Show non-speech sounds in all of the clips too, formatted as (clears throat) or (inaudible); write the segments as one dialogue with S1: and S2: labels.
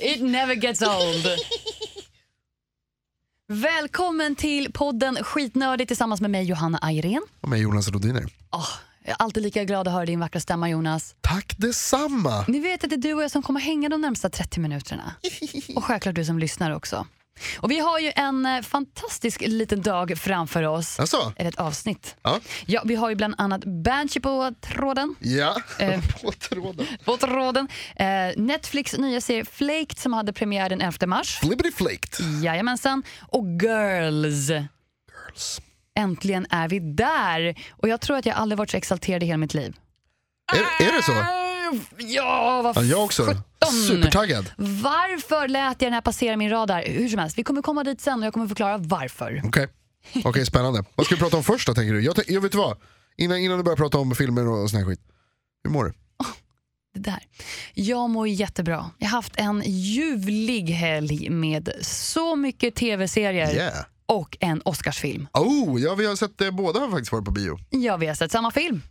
S1: It never gets old. Välkommen till podden Skitnördigt tillsammans med mig Johanna Ayrén.
S2: Och med Jonas Rodiner.
S1: Åh, jag är alltid lika glad att höra din vackra stämma Jonas.
S2: Tack
S1: (laughs)
S2: detsamma!
S1: Ni vet att det är du och jag som kommer hänga de närmsta 30 minuterna. Och självklart du som lyssnar också. Och vi har ju en eh, fantastisk liten dag framför oss.
S2: Alltså,
S1: Eller ett avsnitt.
S2: Ja.
S1: Ja, vi har ju bland annat Banshee på tråden.
S2: ja.
S1: Eh.
S2: (laughs) På tråden.
S1: På tråden. Eh, Netflix nya serie Flaked som hade premiär den 11 mars.
S2: Flibbity flaked.
S1: Jajamensan. Och Girls.
S2: Girls.
S1: Äntligen är vi där. Och jag tror att jag aldrig varit så exalterad i hela mitt liv.
S2: Är, är det så?
S1: Ja, vad
S2: Ja, jag också. Supertaggad.
S1: Varför lät jag den här passera min radar? Hur som helst, vi kommer komma dit sen och jag kommer förklara varför.
S2: Okej, Okej, spännande. Vad ska vi prata om först då tänker du? Jag, tän- jag vet vad, innan, innan du börjar prata om filmer och sån här skit. Hur mår du?
S1: Det där. Jag mår jättebra. Jag har haft en ljuvlig helg med så mycket tv-serier
S2: Yeah.
S1: och en Oscarsfilm.
S2: Oh, ja vi har sett eh, båda har faktiskt varit på bio.
S1: Ja, vi har sett samma film,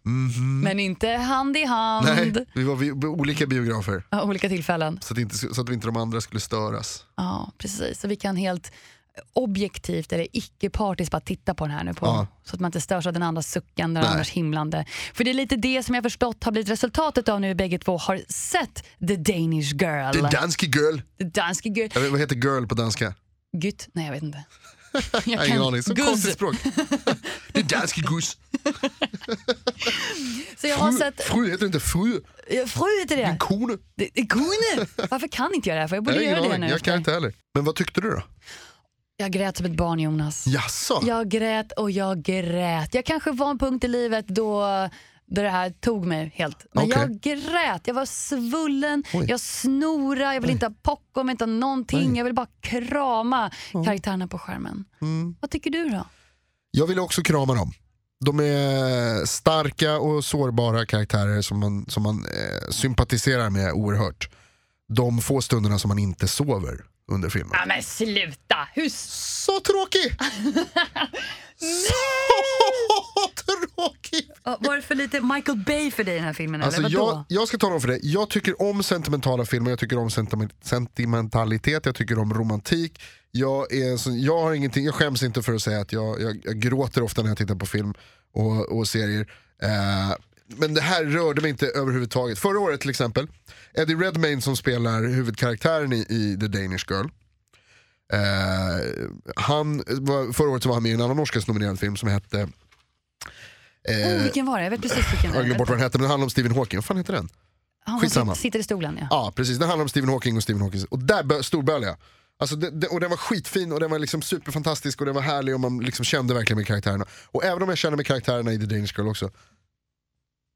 S1: men inte hand i hand.
S2: Mhm. Nej, vi var vid olika biografer.
S1: Ja, Olika tillfällen.
S2: Så att, inte, så att vi inte de andra skulle störas.
S1: Ja, precis. Så vi kan helt objektivt eller icke-partiskt bara titta på den här nu på,
S2: Ja.
S1: så att man inte störs av den andras suckande och
S2: Nej.
S1: den andras himlande. För det är lite det som jag förstått har blivit resultatet av nu vi bägge två har sett The Danish Girl.
S2: Det är danske girl.
S1: The Danske Girl.
S2: Jag vet, vad heter girl på danska?
S1: Gytt? Nej, jag vet
S2: (laughs)
S1: inte.
S2: Jag har
S1: Jag
S2: ingen
S1: kan
S2: aning. Så
S1: guzz.
S2: konstigt språk. det är
S1: (laughs)
S2: danske gus.
S1: Så jag har
S2: Fru-
S1: sett...
S2: Fru heter inte fru,
S1: Eh, Fru heter det!
S2: kone.
S1: Det- det är
S2: (laughs)
S1: Kone! Varför kan inte jag det här? För jag
S2: Jag
S1: borde
S2: har ingen
S1: göra det
S2: aning.
S1: nu.
S2: Jag
S1: efter.
S2: kan inte heller. Men vad tyckte du då?
S1: jag grät som ett barn, Jonas.
S2: Jaså?
S1: Jag grät och jag grät. Jag kanske var en punkt i livet då, då det här tog mig helt. Men
S2: Okej.
S1: jag grät, jag var svullen,
S2: Oj.
S1: jag snorade, jag ville inte ha popcorn, jag ville inte ha någonting. Jag ville bara krama karaktärerna på skärmen.
S2: Mm.
S1: Vad tycker du då?
S2: Jag vill också krama dem. De är starka och sårbara karaktärer som man, som man eh, sympatiserar med oerhört. De få stunderna som man inte sover under filmen.
S1: Ja, men sluta! Hur
S2: Så tråkig!
S1: (laughs)
S2: Så tråkig!
S1: var det för lite Michael Bay för dig i den här filmen?
S2: Alltså
S1: eller vadå?
S2: jag, jag ska tala om för dig, jag tycker om sentimentala filmer, jag tycker om sentiment- sentimentalitet, jag tycker om romantik. Jag, är, en sån- jag, har ingenting, jag skäms inte för att säga att jag, jag, jag gråter ofta när jag tittar på film och, och serier. Eh, men det här rörde mig inte överhuvudtaget. Förra året till exempel, Eddie Redmayne som spelar huvudkaraktären i, i The Danish Girl. Eh, han, var- förra året så var han med i en annan Oscarsnominerad film som hette,
S1: oh,
S2: eh,
S1: vilken var det? Jag vet precis vilken
S2: jag har
S1: det
S2: glömt bort vad den hette, men den handlade om Stephen Hawking, vad fan heter den?
S1: Han
S2: Skitsamma.
S1: sitter, sitter i stolen ja.
S2: Ja, precis. Det handlar om Stephen Hawking och Stephen Hawking. Och där bö- storbölade jag. Alltså det, det, och den var skitfin och den var liksom superfantastisk och den var härlig och man liksom kände verkligen med karaktärerna. Och även om jag känner med karaktärerna i The Danish Girl också.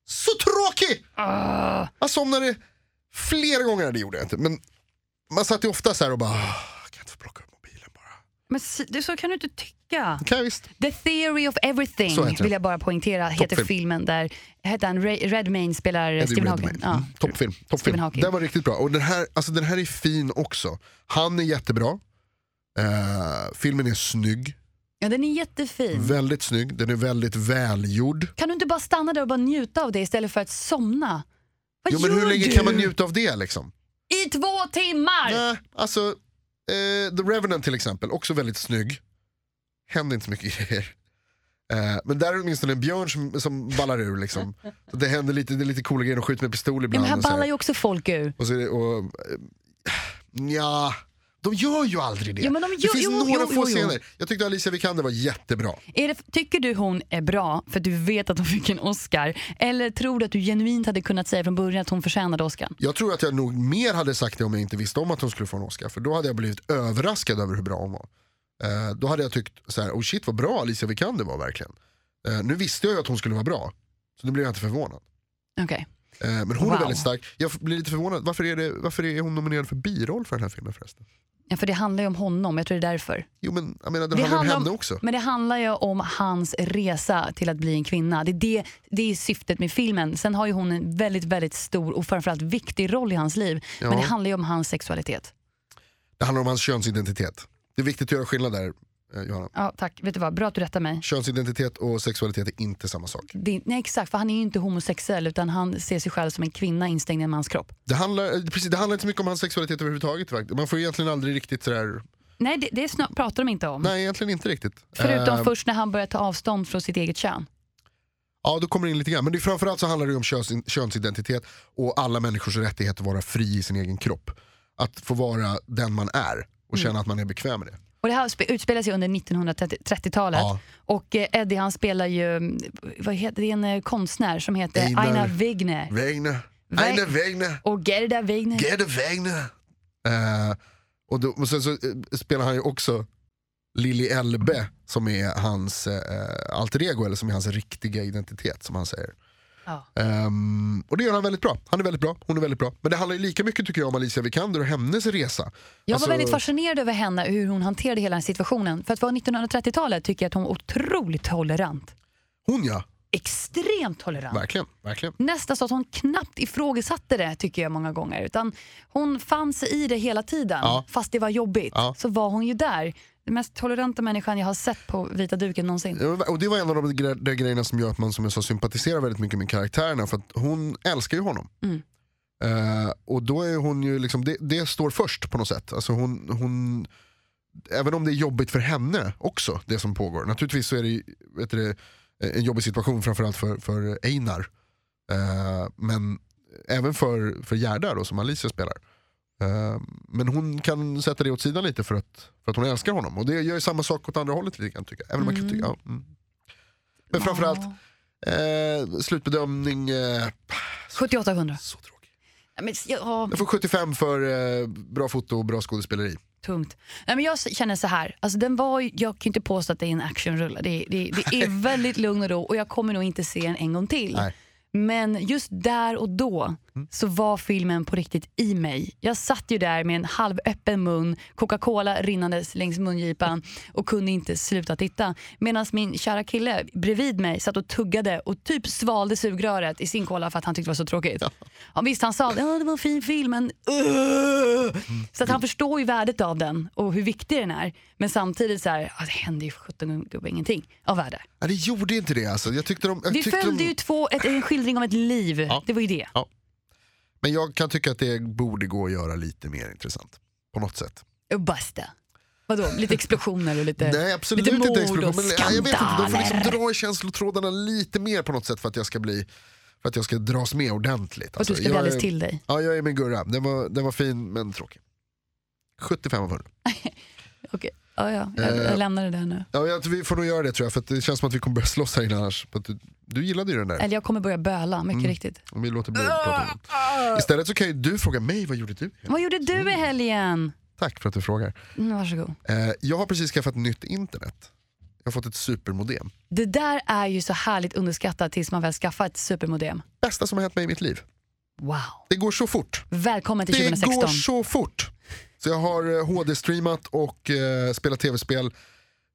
S2: Så tråkig!
S1: Ah,
S2: Jag somnade flera gånger, det gjorde jag inte. Men man satt ju ofta så här och bara, "Ah, kan jag inte få plocka upp mobilen bara?
S1: men s- det- så kan du inte tycka.
S2: Okej visst.
S1: The Theory of Everything
S2: Så heter den.
S1: vill jag bara poängtera heter
S2: Toppfilm.
S1: filmen där heter han Ray, Redmayne spelar Stephen
S2: Eddie
S1: Hawking.
S2: Redmayne.
S1: Ja.
S2: Mm. Toppfilm. toppfilm.
S1: Hawking.
S2: Den var riktigt bra. Och den här, alltså den här är fin också. Han är jättebra. Eh, filmen är snygg.
S1: ja, den är jättefin.
S2: Väldigt snygg, den är väldigt välgjord.
S1: Kan du inte bara stanna där och bara njuta av det istället för att somna? Vad
S2: Jo, men
S1: gör
S2: hur länge
S1: du?
S2: kan man njuta av det liksom?
S1: I två timmar!
S2: Nej, alltså, eh, The Revenant till exempel, också väldigt snygg. Händer inte så mycket (laughs) grejer. Eh, men där är det åtminstone en björn som, som ballar ur liksom. Så det händer lite, det är lite coola grejer, de skjuter med pistol
S1: Ja,
S2: ibland.
S1: men här
S2: och så här.
S1: ballar ju också folk ur.
S2: Och så är det, och, eh, nja, de gör ju aldrig det.
S1: Jo, men de
S2: det
S1: gör-
S2: finns
S1: jo,
S2: några
S1: jo,
S2: få
S1: jo, jo.
S2: scener. Jag tyckte Alicia Vikander var jättebra.
S1: Är det, tycker du hon är bra för att du vet att hon fick en Oscar? Eller tror du att du genuint hade kunnat säga från början att hon förtjänade Oscar?
S2: Jag tror att jag nog mer hade sagt det om jag inte visste om att hon skulle få en Oscar. För då hade jag blivit överraskad över hur bra hon var. Eh, då hade jag tyckt så här, oh shit vad bra Alicia Vikander var verkligen. Eh, nu visste jag ju att hon skulle vara bra. Så nu blev jag inte förvånad.
S1: Okej.
S2: Eh, men hon
S1: Wow.
S2: är väldigt stark. Jag f- blir lite förvånad, varför är, det, varför är hon nominerad för biroll för den här filmen förresten?
S1: Ja, för det handlar ju om honom, jag tror det är därför.
S2: Jo men jag menar, den
S1: Det
S2: handlar om
S1: handlar om-
S2: henne också.
S1: Men det handlar ju om hans resa till att bli en kvinna. Det är, det, det är syftet med filmen. Sen har ju hon en väldigt, väldigt stor och framförallt viktig roll i hans liv. Men det handlar ju om hans sexualitet.
S2: Det handlar om hans könsidentitet. Det är viktigt att göra skillnad där. eh, Johanna.
S1: Ja, tack. Vet du vad? Bra att du rättar mig.
S2: Könsidentitet och sexualitet är inte samma sak.
S1: Det, nej, exakt. För han är ju inte homosexuell utan han ser sig själv som en kvinna instängd i en mans kropp.
S2: Det handlar, eh, precis, det handlar inte så mycket om hans sexualitet överhuvudtaget. faktiskt. Man får egentligen aldrig riktigt sådär,
S1: Nej, det, det snar- pratar de inte om.
S2: nej egentligen inte riktigt.
S1: Förutom
S2: Eh,
S1: först när han börjar ta avstånd från sitt eget kön.
S2: Ja, då kommer det in lite grann. Men det, framförallt så handlar det ju om köns, könsidentitet och alla människors rättighet att vara fri i sin egen kropp. Att få vara den man är och känna att man är bekväm med det.
S1: Och det här spe- utspelar sig under 1930-talet.
S2: Ja.
S1: Och eh, Eddie han spelar ju, mm, vad heter, det är en eh, konstnär som heter
S2: Einar.
S1: Aina Wegner.
S2: Vägne,
S1: Vä-
S2: Eine Vägne,
S1: Och Gerda Wegner.
S2: Gerde Vägne. Eh, och, då, och sen så eh, spelar han ju också Lili Elbe som är hans eh, alter ego, eller som är hans riktiga identitet som han säger.
S1: Ja.
S2: Ehm, och det gör han väldigt bra. Han är väldigt bra, hon är väldigt bra. Men det handlar ju lika mycket tycker jag om Alicia Vikander och hennes resa.
S1: Jag
S2: Alltså-
S1: var väldigt fascinerad över henne, hur hon hanterade hela den här situationen. För att vara 1930-talet tycker jag att hon var otroligt tolerant.
S2: Hon ja,
S1: Extremt tolerant.
S2: verkligen. verkligen.
S1: Nästan så att hon knappt ifrågasatte det tycker jag många gånger. Utan hon fann sig i det hela tiden.
S2: Ja.
S1: Fast det var jobbigt
S2: Ja.
S1: så var hon ju där. Den mest toleranta människan jag har sett på vita duken någonsin.
S2: Ja, men- Och det var en av de gre- de grejerna som gör att man som jag sa sympatiserar väldigt mycket med karaktärerna för att hon älskar ju honom.
S1: Mm.
S2: Eh, och då är hon ju liksom, det, det står först på något sätt. Alltså hon, hon, även om det är jobbigt för henne också, det som pågår. Naturligtvis så är det, ju, vet du, det, Eh, en jobbig situation framförallt för, för Einar. Eh, men även för, för Gerda då, som Alicia spelar. Eh, men hon kan sätta det åt sidan lite för att, för att hon älskar honom. Och det gör ju samma sak åt andra hållet lite grann tycker jag. Även om man kan tycka, ja, mm. Men framförallt,
S1: Ja.
S2: eh, slutbedömning, eh,
S1: 7800.
S2: så tråkig.
S1: Ja, men, ja,
S2: Jag får 75 för eh, bra foto och bra skådespeleri.
S1: tungt. Nej, men jag känner så här, alltså, den var, ju- jag kan ju inte påstå att det är en actionrulle. Det, det, det är väldigt lugn och ro och jag kommer nog inte se den en gång till.
S2: Nej.
S1: Men just där och då
S2: Mm.
S1: så var filmen på riktigt i mig. Jag satt ju där med en halvöppen mun, Coca-Cola rinnandes längs mungipan och kunde inte sluta titta. Medan min kära kille bredvid mig satt och tuggade och typ svalde sugröret i sin cola för att han tyckte det var så tråkigt. Ja, visst, han sa att det var en fin film, men "Ugh." Så att han förstår ju värdet av den och hur viktig den är. Men samtidigt så här, ja, det hände ju 17 gubbe ingenting av värde.
S2: Nej, det gjorde inte det alltså. Jag tyckte de, jag
S1: Vi
S2: tyckte de-
S1: följde ju två, ett, en skildring av ett liv. Det var ju det.
S2: Men jag kan tycka att det borde gå att göra lite mer intressant. På något sätt.
S1: Och basta. Vadå, lite explosioner och lite...
S2: Nej absolut
S1: lite mord
S2: inte
S1: och
S2: explosion. Men, nej, jag vet inte, de får liksom
S1: skandaler.
S2: dra i känslotrådarna lite mer på något sätt för att jag ska bli för att jag ska dras med ordentligt. Alltså,
S1: Och du ska bli
S2: jag,
S1: alldeles
S2: är,
S1: till dig.
S2: ja, jag är med Gurra, den var, den var fin men tråkig. 75 av 100.
S1: Okej, ja, ja. Jag,
S2: Eh.
S1: jag lämnar det där nu.
S2: Ja, jag, vi får nog göra det tror jag för att det känns som att vi kommer börja slåss här inne annars. För att du, du gillade ju den där.
S1: Eller jag kommer börja böla, mycket
S2: Mm.
S1: riktigt.
S2: Om vi låter bli att prata om den. Istället så kan ju du fråga mig, vad gjorde du?
S1: Vad gjorde du i helgen?
S2: Tack för att du frågar.
S1: Mm, varsågod.
S2: Eh, jag har precis skaffat nytt internet. Jag har fått ett supermodem.
S1: Det där är ju så härligt underskattat tills man väl skaffar ett supermodem.
S2: Bästa som har hänt mig i mitt liv.
S1: Wow.
S2: Det går så fort.
S1: Välkommen till
S2: Det
S1: 2016.
S2: går så fort. Så jag har eh, HD-streamat och eh, spelat tv-spel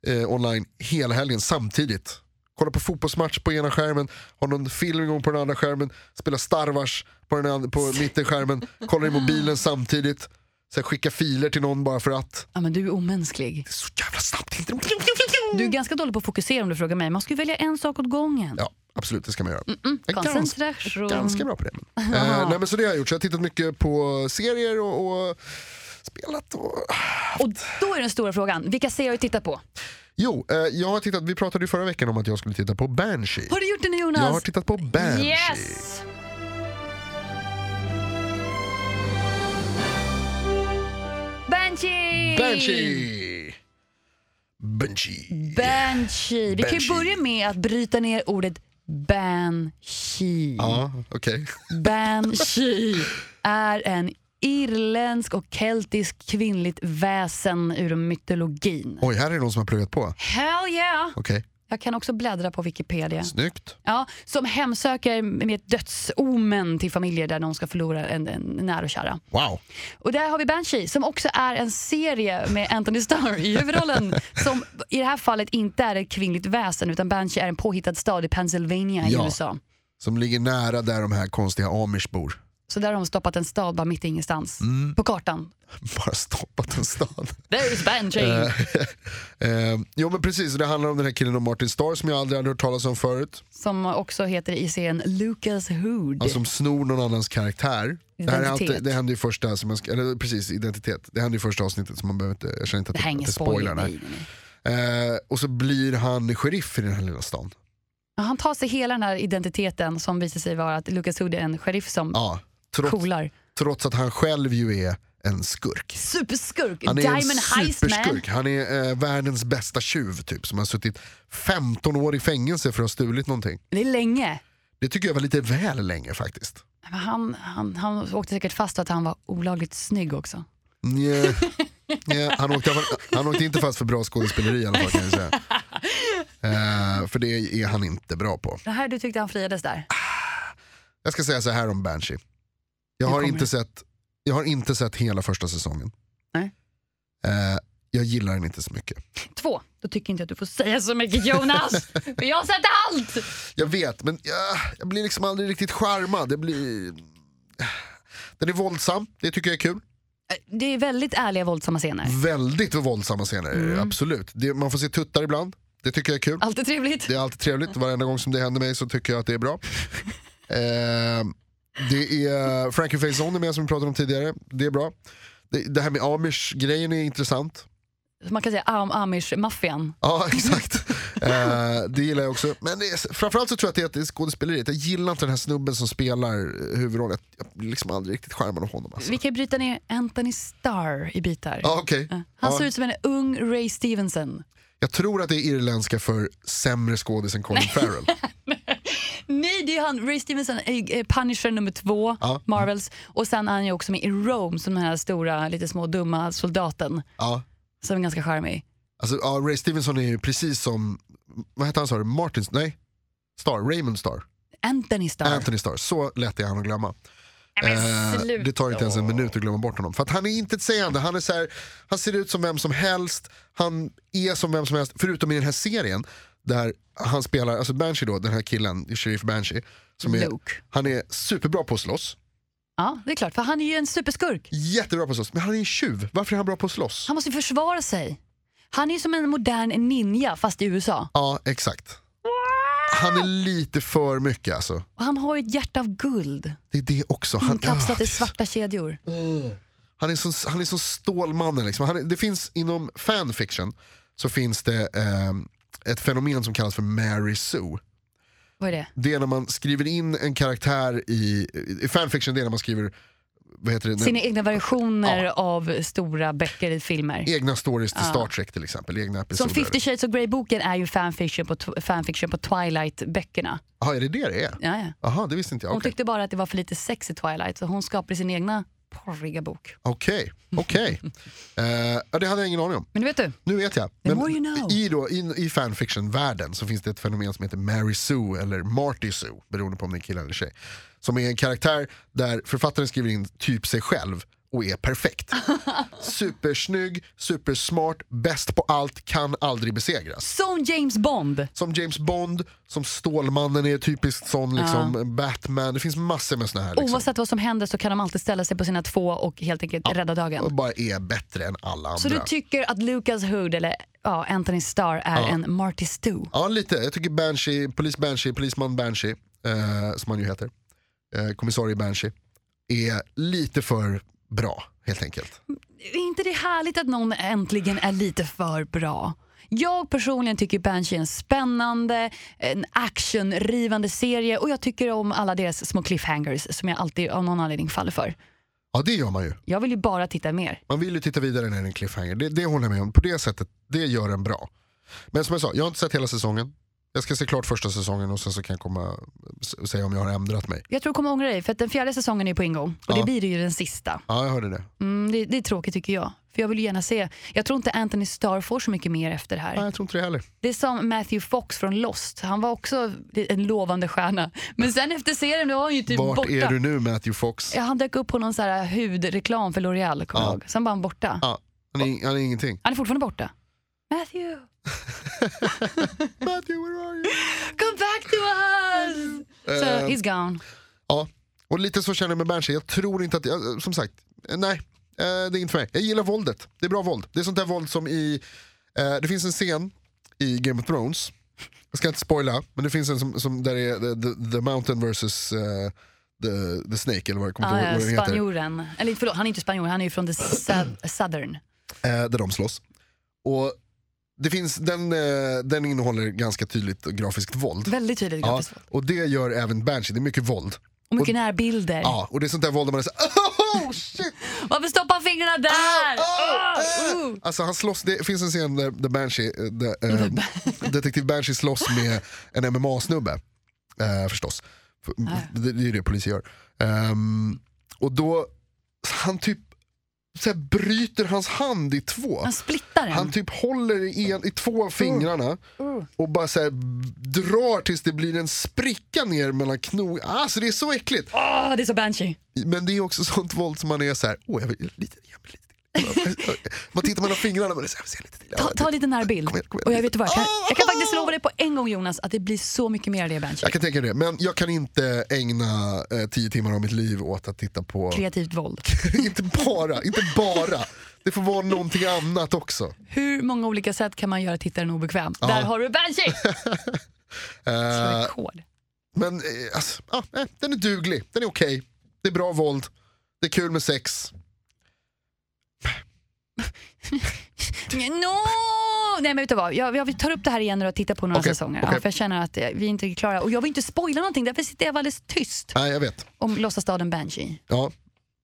S2: eh, online hela helgen samtidigt. Kollar på fotbollsmatch på ena skärmen, har någon film igång på den andra skärmen, spelar Star Wars på, den andra, på mittenskärmen, kollar i mobilen samtidigt, sen skickar filer till någon bara för att.
S1: Ja, men du är omänsklig.
S2: Det är så jävla snabbt. (laughs)
S1: Du är ganska dålig på att fokusera om du frågar mig. Man ska ju välja en sak åt gången.
S2: Ja, absolut det ska man göra. Jag är ganska
S1: Koncentration.
S2: Ganska bra på det. Eh, nej, men så det har jag gjort. Så jag har tittat mycket på serier och, och spelat. Och...
S1: Och då är den stora frågan, vilka serier har du tittat på?
S2: Jo, eh, jag har tittat, vi pratade ju förra veckan om att jag skulle titta på Banshee.
S1: Har du gjort det nu Jonas?
S2: Jag har tittat på Banshee.
S1: Yes! Banshee!
S2: Banshee! Banshee.
S1: Banshee. Vi kan ju
S2: Banshee.
S1: börja med att bryta ner ordet banshee.
S2: Ja, okej.
S1: Banshee är en irländsk och keltisk kvinnligt väsen ur mytologin.
S2: Oj, här är det någon som har pluggat på.
S1: Hell yeah!
S2: Okej,
S1: Jag kan också bläddra på Wikipedia.
S2: snyggt.
S1: Ja, som hemsöker med ett dödsomen till familjer där någon ska förlora en, en nära och kära.
S2: Wow.
S1: Och där har vi Banshee som också är en serie med Anthony Starr i huvudrollen. som i det här fallet inte är ett kvinnligt väsen utan Banshee är en påhittad stad i Pennsylvania i
S2: Ja.
S1: USA.
S2: Som ligger nära där de här konstiga amish bor.
S1: Så där har de stoppat en stad bara mitt i ingenstans.
S2: Mm.
S1: På kartan.
S2: (laughs) Bara stoppat en stad.
S1: There is Banjing!
S2: Eh, jo men precis, det handlar om den här killen och Martin Starr som jag aldrig hade hört talas om förut.
S1: Som också heter i serien Lucas Hood.
S2: Han som snor någon annans karaktär. Det, här är
S1: Identitet.
S2: alltid, det händer ju första, som jag, ska- eller precis identitet. Det händer i första avsnittet så man behöver inte, jag känner inte att
S1: det här är ingen
S2: inte
S1: spoiler.
S2: det här.
S1: nej, nej, nej.
S2: Eh, och så blir han sheriff i den här lilla stan.
S1: Ja, Han tar sig hela den här identiteten som visar sig vara att Lucas Hood är en sheriff som
S2: Ja, trots,
S1: coolar.
S2: trots att han själv ju är en skurk.
S1: Superskurk!
S2: Han är
S1: Diamond
S2: en
S1: Heistman!
S2: superskurk. Han är eh, världens bästa tjuv typ som har suttit 15 år i fängelse för att ha stulit någonting.
S1: Det är länge.
S2: Det tycker jag var lite väl länge faktiskt.
S1: Men han, han, han åkte säkert fast för att han var olagligt snygg också.
S2: Nja. Nja, han, åkte, han åkte inte fast för bra skådespeleri i alla fall kan jag säga. Eh, för det är han inte bra på.
S1: Det här du tyckte han friades där.
S2: Jag ska säga så här om Banshee. Jag
S1: Nu
S2: har,
S1: kommer
S2: inte
S1: det.
S2: sett, jag har inte sett hela första säsongen.
S1: Nej.
S2: Eh, jag gillar den inte så mycket.
S1: Två, då tycker inte jag att du får säga så mycket Jonas. (laughs) Eh, för jag har sett allt!
S2: Jag vet, men jag, jag blir liksom aldrig riktigt charmad. Det blir... Den är våldsam, det tycker jag är kul.
S1: Det är väldigt ärliga våldsamma scener.
S2: Väldigt våldsamma scener,
S1: Mm.
S2: absolut. Det, man får se tuttar ibland, det tycker jag är kul.
S1: Alltid trevligt.
S2: Det är alltid trevligt, varenda gång som det händer mig så tycker jag att det
S1: (laughs)
S2: är bra. Eh, det är Frankie Faison är med som vi pratade om tidigare, det är bra. Det, det här med Amish-grejen är intressant.
S1: Man kan säga am amish-maffian.
S2: Ja, exakt.
S1: (laughs)
S2: Eh, det gillar jag också. Men det är, framförallt så tror jag att det är, att det är skådespeleriet. Jag gillar inte den här snubben som spelar eh, huvudrollen. Jag blir liksom aldrig riktigt charmad av honom. Alltså.
S1: Vi kan ju bryta ner Anthony Starr i bitar.
S2: Ja, okej.
S1: Han
S2: Ja.
S1: ser ut som en ung Ray Stevenson.
S2: Jag tror att det är irländska för sämre skådis
S1: (laughs)
S2: än Colin Farrell.
S1: Nej, det är han. Ray Stevenson är är Punisher nummer två,
S2: Ja.
S1: Marvels. Och sen är han ju också med i Rome som den här stora, lite små dumma soldaten
S2: Ja.
S1: som är ganska charmig.
S2: Alltså, ja, Ray Stevenson är ju precis som, vad hette han sa du, Martin, nej? Star, Raymond Star,
S1: Anthony Starr.
S2: Anthony Star. Så lätt är han att glömma. Eh,
S1: sluta.
S2: det tar inte ens en minut att glömma bort honom. För att han är inte sägande. Han, är så här, han ser ut som vem som helst, han är som vem som helst. Förutom i den här serien där han spelar, alltså Banshee då, den här killen, Sheriff Banshee. Som är,
S1: Luke.
S2: han är superbra på att slåss,
S1: Ja, det är klart. För han är ju en superskurk.
S2: jättebra på att slåss, men han är en tjuv. Varför är han bra på att slåss?
S1: Han måste ju försvara sig. Han är ju som en modern ninja fast i USA.
S2: Ja, exakt. Han är lite för mycket alltså.
S1: Och han har ju ett hjärta av guld.
S2: Det är det också. Han,
S1: Inkapslat
S2: Ah,
S1: i svarta kedjor.
S2: Han är som, han är som Stålmannen. Liksom. Han är, det finns inom fanfiction så finns det ehm, ett fenomen som kallas för Mary Sue.
S1: Vad är det?
S2: Det är när man skriver in en karaktär i, i fanfiction, det är när man skriver vad heter det,
S1: Sina egna versioner av stora böcker i filmer.
S2: egna stories till Star Trek till exempel. Egna
S1: Som
S2: episoder.
S1: 50 shades of Grey-boken är ju fanfiction på, tw- fanfiction på Twilight-böckerna.
S2: Aha, är det det det är?
S1: Ja, ja.
S2: Aha, det visste inte jag.
S1: Hon
S2: Okej,
S1: tyckte bara att det var för lite sex i Twilight så hon skapade sin egna porriga bok.
S2: okej.
S1: (laughs)
S2: okej. Eh, ja, det hade jag ingen aning om.
S1: Men du vet du,
S2: Nu vet jag.
S1: The more you know.
S2: i, då, i, I fanfiction-världen så finns det ett fenomen som heter Mary Sue eller Marty Sue, beroende på om det är kille eller tjej. Som är en karaktär där författaren skriver in typ sig själv och
S1: (laughs)
S2: är perfekt. Supersnygg, supersmart, bäst på allt, kan aldrig besegras.
S1: som James Bond.
S2: Som James Bond, som Stålmannen är typiskt sån, liksom, Batman, det finns massor med såna här. Liksom.
S1: Oavsett vad som händer så kan de alltid ställa sig på sina två och helt enkelt rädda dagen.
S2: Och bara är bättre än alla andra.
S1: Så du tycker att Lucas Hood, eller ja, Anthony Starr, är en Marty Stew?
S2: Ja, lite. Jag tycker Banshee, polis Banshee, polisman Banshee, eh, som han ju heter, eh, kommissarie Banshee, är lite för bra helt enkelt.
S1: Är inte det härligt att någon äntligen är lite för bra? Jag personligen tycker Banshee är en spännande, en actionrivande serie och jag tycker om alla deras små cliffhangers som jag alltid av någon anledning faller för.
S2: Ja, det gör man ju.
S1: Jag vill ju bara titta mer.
S2: Man vill ju titta vidare när det är en cliffhanger. Det, det håller jag med om. På det sättet, det gör den bra. Men som jag sa, jag har inte sett hela säsongen. Jag ska se klart första säsongen och sen så kan jag komma och säga om jag har ändrat mig.
S1: Jag tror du kommer ångra dig för att den fjärde säsongen är på ingång och
S2: Ja.
S1: det blir det ju den sista.
S2: Ja, jag hörde det.
S1: Mm, det, det är tråkigt tycker jag. För jag vill ju gärna se. Jag tror inte Anthony Starr får så mycket mer efter det här.
S2: Nej, jag tror inte det heller.
S1: Det är som Matthew Fox från Lost. Han var också en lovande stjärna. Men sen efter serien då var han ju typ
S2: Vart
S1: borta.
S2: är du nu Matthew Fox?
S1: Ja, han dök upp på någon så här hudreklam för L'Oreal, kommer
S2: Ja.
S1: jag ihåg. Sen var han borta.
S2: Ja, han, är, han är ingenting.
S1: Han är fortfarande borta. Matthew,
S2: Matthew, where are you?
S1: come back to us! So
S2: Eh.
S1: he's gone.
S2: Ja, Och lite så känner jag med Berntsen, jag tror inte att, jag, som sagt, eh, nej. Eh, det är inte för mig. Jag gillar våldet, det är bra våld. Det är sånt där våld som i, eh, det finns en scen i Game of Thrones, jag ska inte spoila, men det finns en som, som där är the, the, the Mountain versus eh, the, the Snake eller vad, jag kommer
S1: Ah,
S2: inte ihåg
S1: ja,
S2: vad den heter.
S1: spanjoren. Eller förlåt, han är inte spanjor, han är ju från the sou- southern.
S2: eh, där de slåss. Och det finns, den, eh, den innehåller ganska tydligt och grafiskt våld.
S1: Väldigt tydligt
S2: Ja,
S1: grafiskt.
S2: och det gör även Banshee, det är mycket våld.
S1: Och mycket närbilder.
S2: Ja, och det är sånt där våld där man är såhär, (laughs) oh shit!
S1: Varför stoppar fingrarna där?
S2: Ah,
S1: Ah,
S2: ah,
S1: uh.
S2: Alltså han slåss, det finns en scen där, där Banshee, eh, (laughs) där, eh, detektiv Banshee slåss med en MMA-snubbe. Eh, förstås. För- Det, det är ju det polisen gör. Ehm, och då, han typ så här, bryter hans hand i två.
S1: Han splittar den.
S2: Han typ håller i, en, i två av fingrarna och bara så här, drar tills det blir en spricka ner mellan knogarna. Alltså det är så äckligt.
S1: Åh, Ah, det är så banshee.
S2: Men det är också (laughs) sånt våld som man är så här, åh jag vill lite, jag vill lite till. (laughs) Man tittar mellan fingrarna och man är så här, jag vill se lite till.
S1: Ta, ta en liten närbild.
S2: Kom igen, kom igen.
S1: Och jag vet du vad, jag kan, jag kan
S2: Ah!
S1: faktiskt lova dig på en gång Jonas att det blir så mycket mer av det banshee.
S2: Jag kan tänka mig det, men jag kan inte ägna eh, tio timmar av mitt liv åt att titta på,
S1: Kreativt våld.
S2: (laughs) inte bara, inte bara. Det får vara någonting annat också.
S1: Hur många olika sätt kan man göra tittaren obekväm? Där har du banshee! Slå
S2: (laughs) Eh,
S1: rekord.
S2: Men eh, alltså, ja, nej, den är duglig, den är okej. Det är bra våld, det är kul med sex.
S1: No! Nej men vet du vad, jag, jag tar upp det här igen när du har tittat på några
S2: Okej,
S1: säsonger. Ja,
S2: okej.
S1: för jag känner att eh, vi inte är klara. Och jag vill inte spoila någonting, därför sitter jag alldeles tyst
S2: Nej jag vet.
S1: om låtsastaden Banshee.
S2: Ja.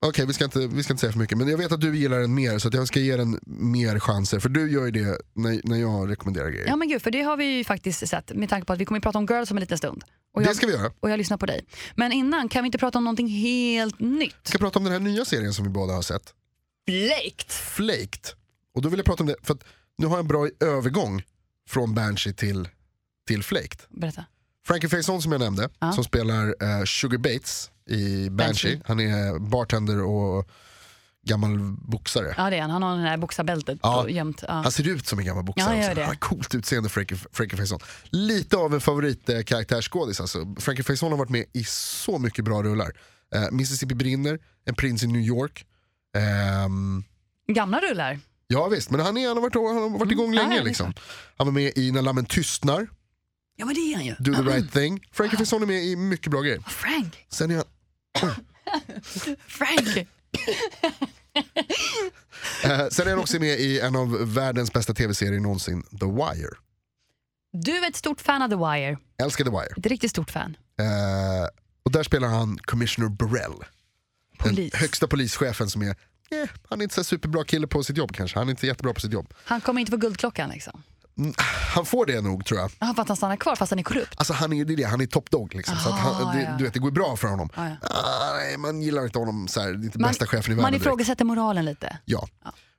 S2: Okej vi, ska inte- vi ska inte säga för mycket men jag vet att du gillar den mer så att jag ska ge den mer chanser för du gör ju det när, när jag rekommenderar grejer.
S1: Ja men gud, för det har vi ju faktiskt sett med tanke på att vi kommer att prata om Girls om en liten stund. Och
S2: Det
S1: jag,
S2: ska vi göra.
S1: och jag lyssnar på dig. Men innan, kan vi inte prata om någonting helt
S2: Vi
S1: nytt?
S2: ska prata om den här nya serien som vi båda har sett.
S1: Blaked!
S2: Flaked. Och då vill jag prata om det för att nu har jag en bra övergång från Banshee till, till Flaked.
S1: Berätta.
S2: Frankie Faison som jag nämnde,
S1: Ja.
S2: som spelar eh, Sugar Bates i Banshee.
S1: Banshee.
S2: Han är bartender och gammal boxare.
S1: Ja det är han, han har det här boxarbältet
S2: Ja.
S1: ja. jämt. Ja.
S2: Han ser ut som en gammal boxare.
S1: Ja, han gör
S2: också.
S1: det.
S2: Han har coolt utseende, Frankie, Frankie Faison. Lite av en favoritkaraktärskådis. Alltså. Frankie Faison har varit med i så mycket bra rullar. Eh, Mississippi brinner, En prins i New York. Ehm,
S1: Gamla rullar.
S2: ja visst, men han, är, han, har varit, han har varit igång
S1: Ja,
S2: länge.
S1: ja, det är
S2: liksom. Han var med i När lammen tystnar,
S1: Ja men det är han ju.
S2: Do the right thing. Frankie Faison är med i mycket bra grejer.
S1: Frank!
S2: Sen är han
S1: Frank!
S2: Eh, sen är han också med i en av världens bästa tv-serier någonsin, The Wire.
S1: (laughs) Du är ett stort fan av The Wire.
S2: Älskar The Wire.
S1: Ett riktigt stort fan.
S2: Eh, och där spelar han Commissioner Burrell.
S1: Polis.
S2: Den högsta polischefen som är, eh, han är inte så superbra kille på sitt jobb kanske. Han är inte jättebra på sitt jobb. Mm,
S1: Han kommer inte få guldklockan liksom.
S2: Han får det nog tror jag.
S1: Ja, för att han stannar kvar fast han är korrupt.
S2: Alltså han är ju det, är det, han är top dog liksom. så att han,
S1: Ah,
S2: det,
S1: ja.
S2: du vet, det går ju bra för honom.
S1: Ja, ja.
S2: Ah, nej, man gillar inte honom så här, det är inte bästa chefen i världen
S1: man
S2: direkt.
S1: ifrågasätter moralen lite.
S2: Ja.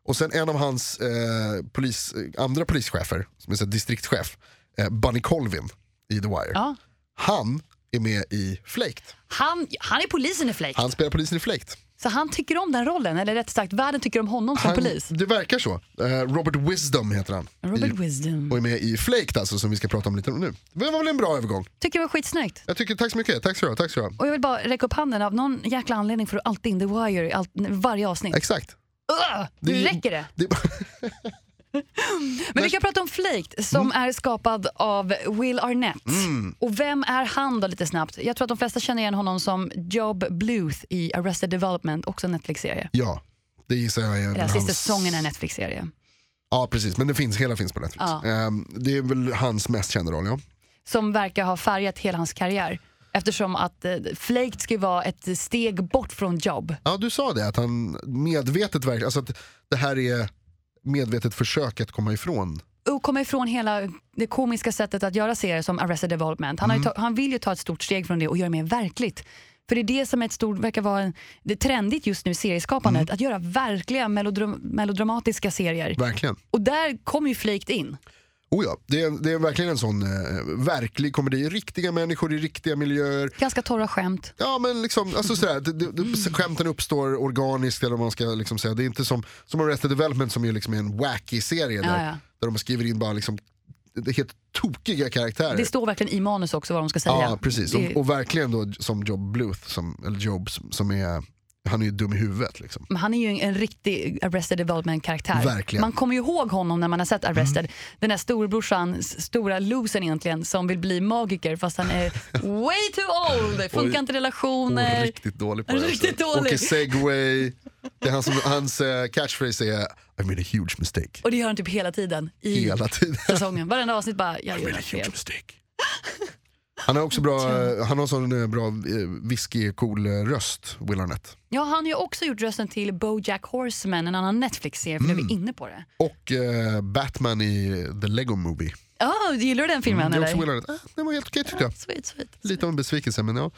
S2: Och sen en av hans eh, polis, eh, andra polischefer, som är så här, distriktschef, eh, Bunny Colvin i The Wire.
S1: Ja.
S2: Han är med i Flaked.
S1: Han, han är polisen i Flake.
S2: Han spelar polisen i Flaked.
S1: Så han tycker om den rollen, eller rätt sagt världen tycker om honom som
S2: Han,
S1: polis.
S2: Det verkar så. Eh, Robert Wisdom heter han.
S1: Robert
S2: I,
S1: Wisdom.
S2: och är med i Flaked alltså, som vi ska prata om lite nu. Det var väl en bra övergång.
S1: Tycker det var skitsnyggt.
S2: Jag tycker, tack så mycket. Tack så mycket. Tack så mycket.
S1: Och jag vill bara räcka upp handen, av någon jäkla anledning får du alltid in The Wire i allt, varje avsnitt.
S2: Exakt.
S1: Ugh, nu
S2: Det-
S1: räcker det.
S2: det (laughs)
S1: Men vi kan prata om Flaked som är skapad av Will Arnett. Och vem är han då lite snabbt? Jag tror att de flesta känner igen honom som Job Bluth i Arrested Development, också en Netflix-serie.
S2: ja, det gissar jag är
S1: Eller
S2: hans-
S1: sista säsongen är en Netflix-serie.
S2: Ja, precis. Men det finns, hela finns på Netflix.
S1: Ja.
S2: Ehm, det är väl hans mest kända roll, ja.
S1: som verkar ha färgat hela hans karriär. Eftersom att eh, Flaked ska ju vara ett steg bort från jobb.
S2: Ja, du sa det, att han medvetet verkar, alltså att det här är medvetet försök att komma ifrån.
S1: Och komma ifrån hela det komiska sättet att göra serier som Arrested Development. Han,
S2: Mm.
S1: har ju ta, han vill ju ta ett stort steg från det och göra mer verkligt. För det är det som är ett stort, verkar vara en, det är trendigt just nu i serieskapandet.
S2: Mm.
S1: Att göra verkliga melodram, melodramatiska serier.
S2: Verkligen.
S1: Och där kom ju Flaked in.
S2: Oh ja, det, är, det är verkligen en sån eh, verklig komedi. Riktiga människor i riktiga miljöer.
S1: Ganska torra skämt.
S2: Ja men liksom, alltså sådär, det, det, det, skämten uppstår organiskt eller vad man ska liksom säga. Det är inte som, som Arrested Development som är liksom en wacky serie där,
S1: Ja, ja.
S2: där de skriver in bara liksom, det heter tokiga karaktärer.
S1: Det står verkligen i manus också vad de ska säga.
S2: Eh. Ja, precis.
S1: Det-
S2: Och, och verkligen då som Job Bluth, som, eller Job, som- som är, han är ju dum i huvudet. Liksom.
S1: Men han är ju en, en riktig Arrested Development-karaktär.
S2: Verkligen. Mm.
S1: Man kommer ju ihåg honom när man har sett Arrested. Den där storebrorsan, s- stora losern egentligen, som vill bli magiker fast han
S2: (laughs)
S1: är way too old. Funkar
S2: Oj.
S1: inte
S2: Och
S1: relationer.
S2: riktigt dålig på det.
S1: Riktigt dålig.
S2: Åker segway. Det är han som, hans eh, catchphrase är I made a huge mistake.
S1: och det gör han typ hela tiden i
S2: Hela tiden.
S1: säsongen. Varenda avsnitt bara, (laughs) jag gör
S2: made a
S1: något fel.
S2: huge mistake. Han har också bra, eh, han har sån eh, bra eh, whisky-cool eh, röst, Will Arnett.
S1: Ja, han har ju också gjort rösten till BoJack Horseman, en annan Netflix-serie, för nu är vi
S2: Mm.
S1: inne på det.
S2: Och eh, Batman i The Lego Movie.
S1: Ja, gillar du den filmen
S2: Det är också
S1: eller?
S2: Will Arnett. Ah, den var helt okej tyckte jag.
S1: Sweet, sweet.
S2: Lite av en besvikelse men ja.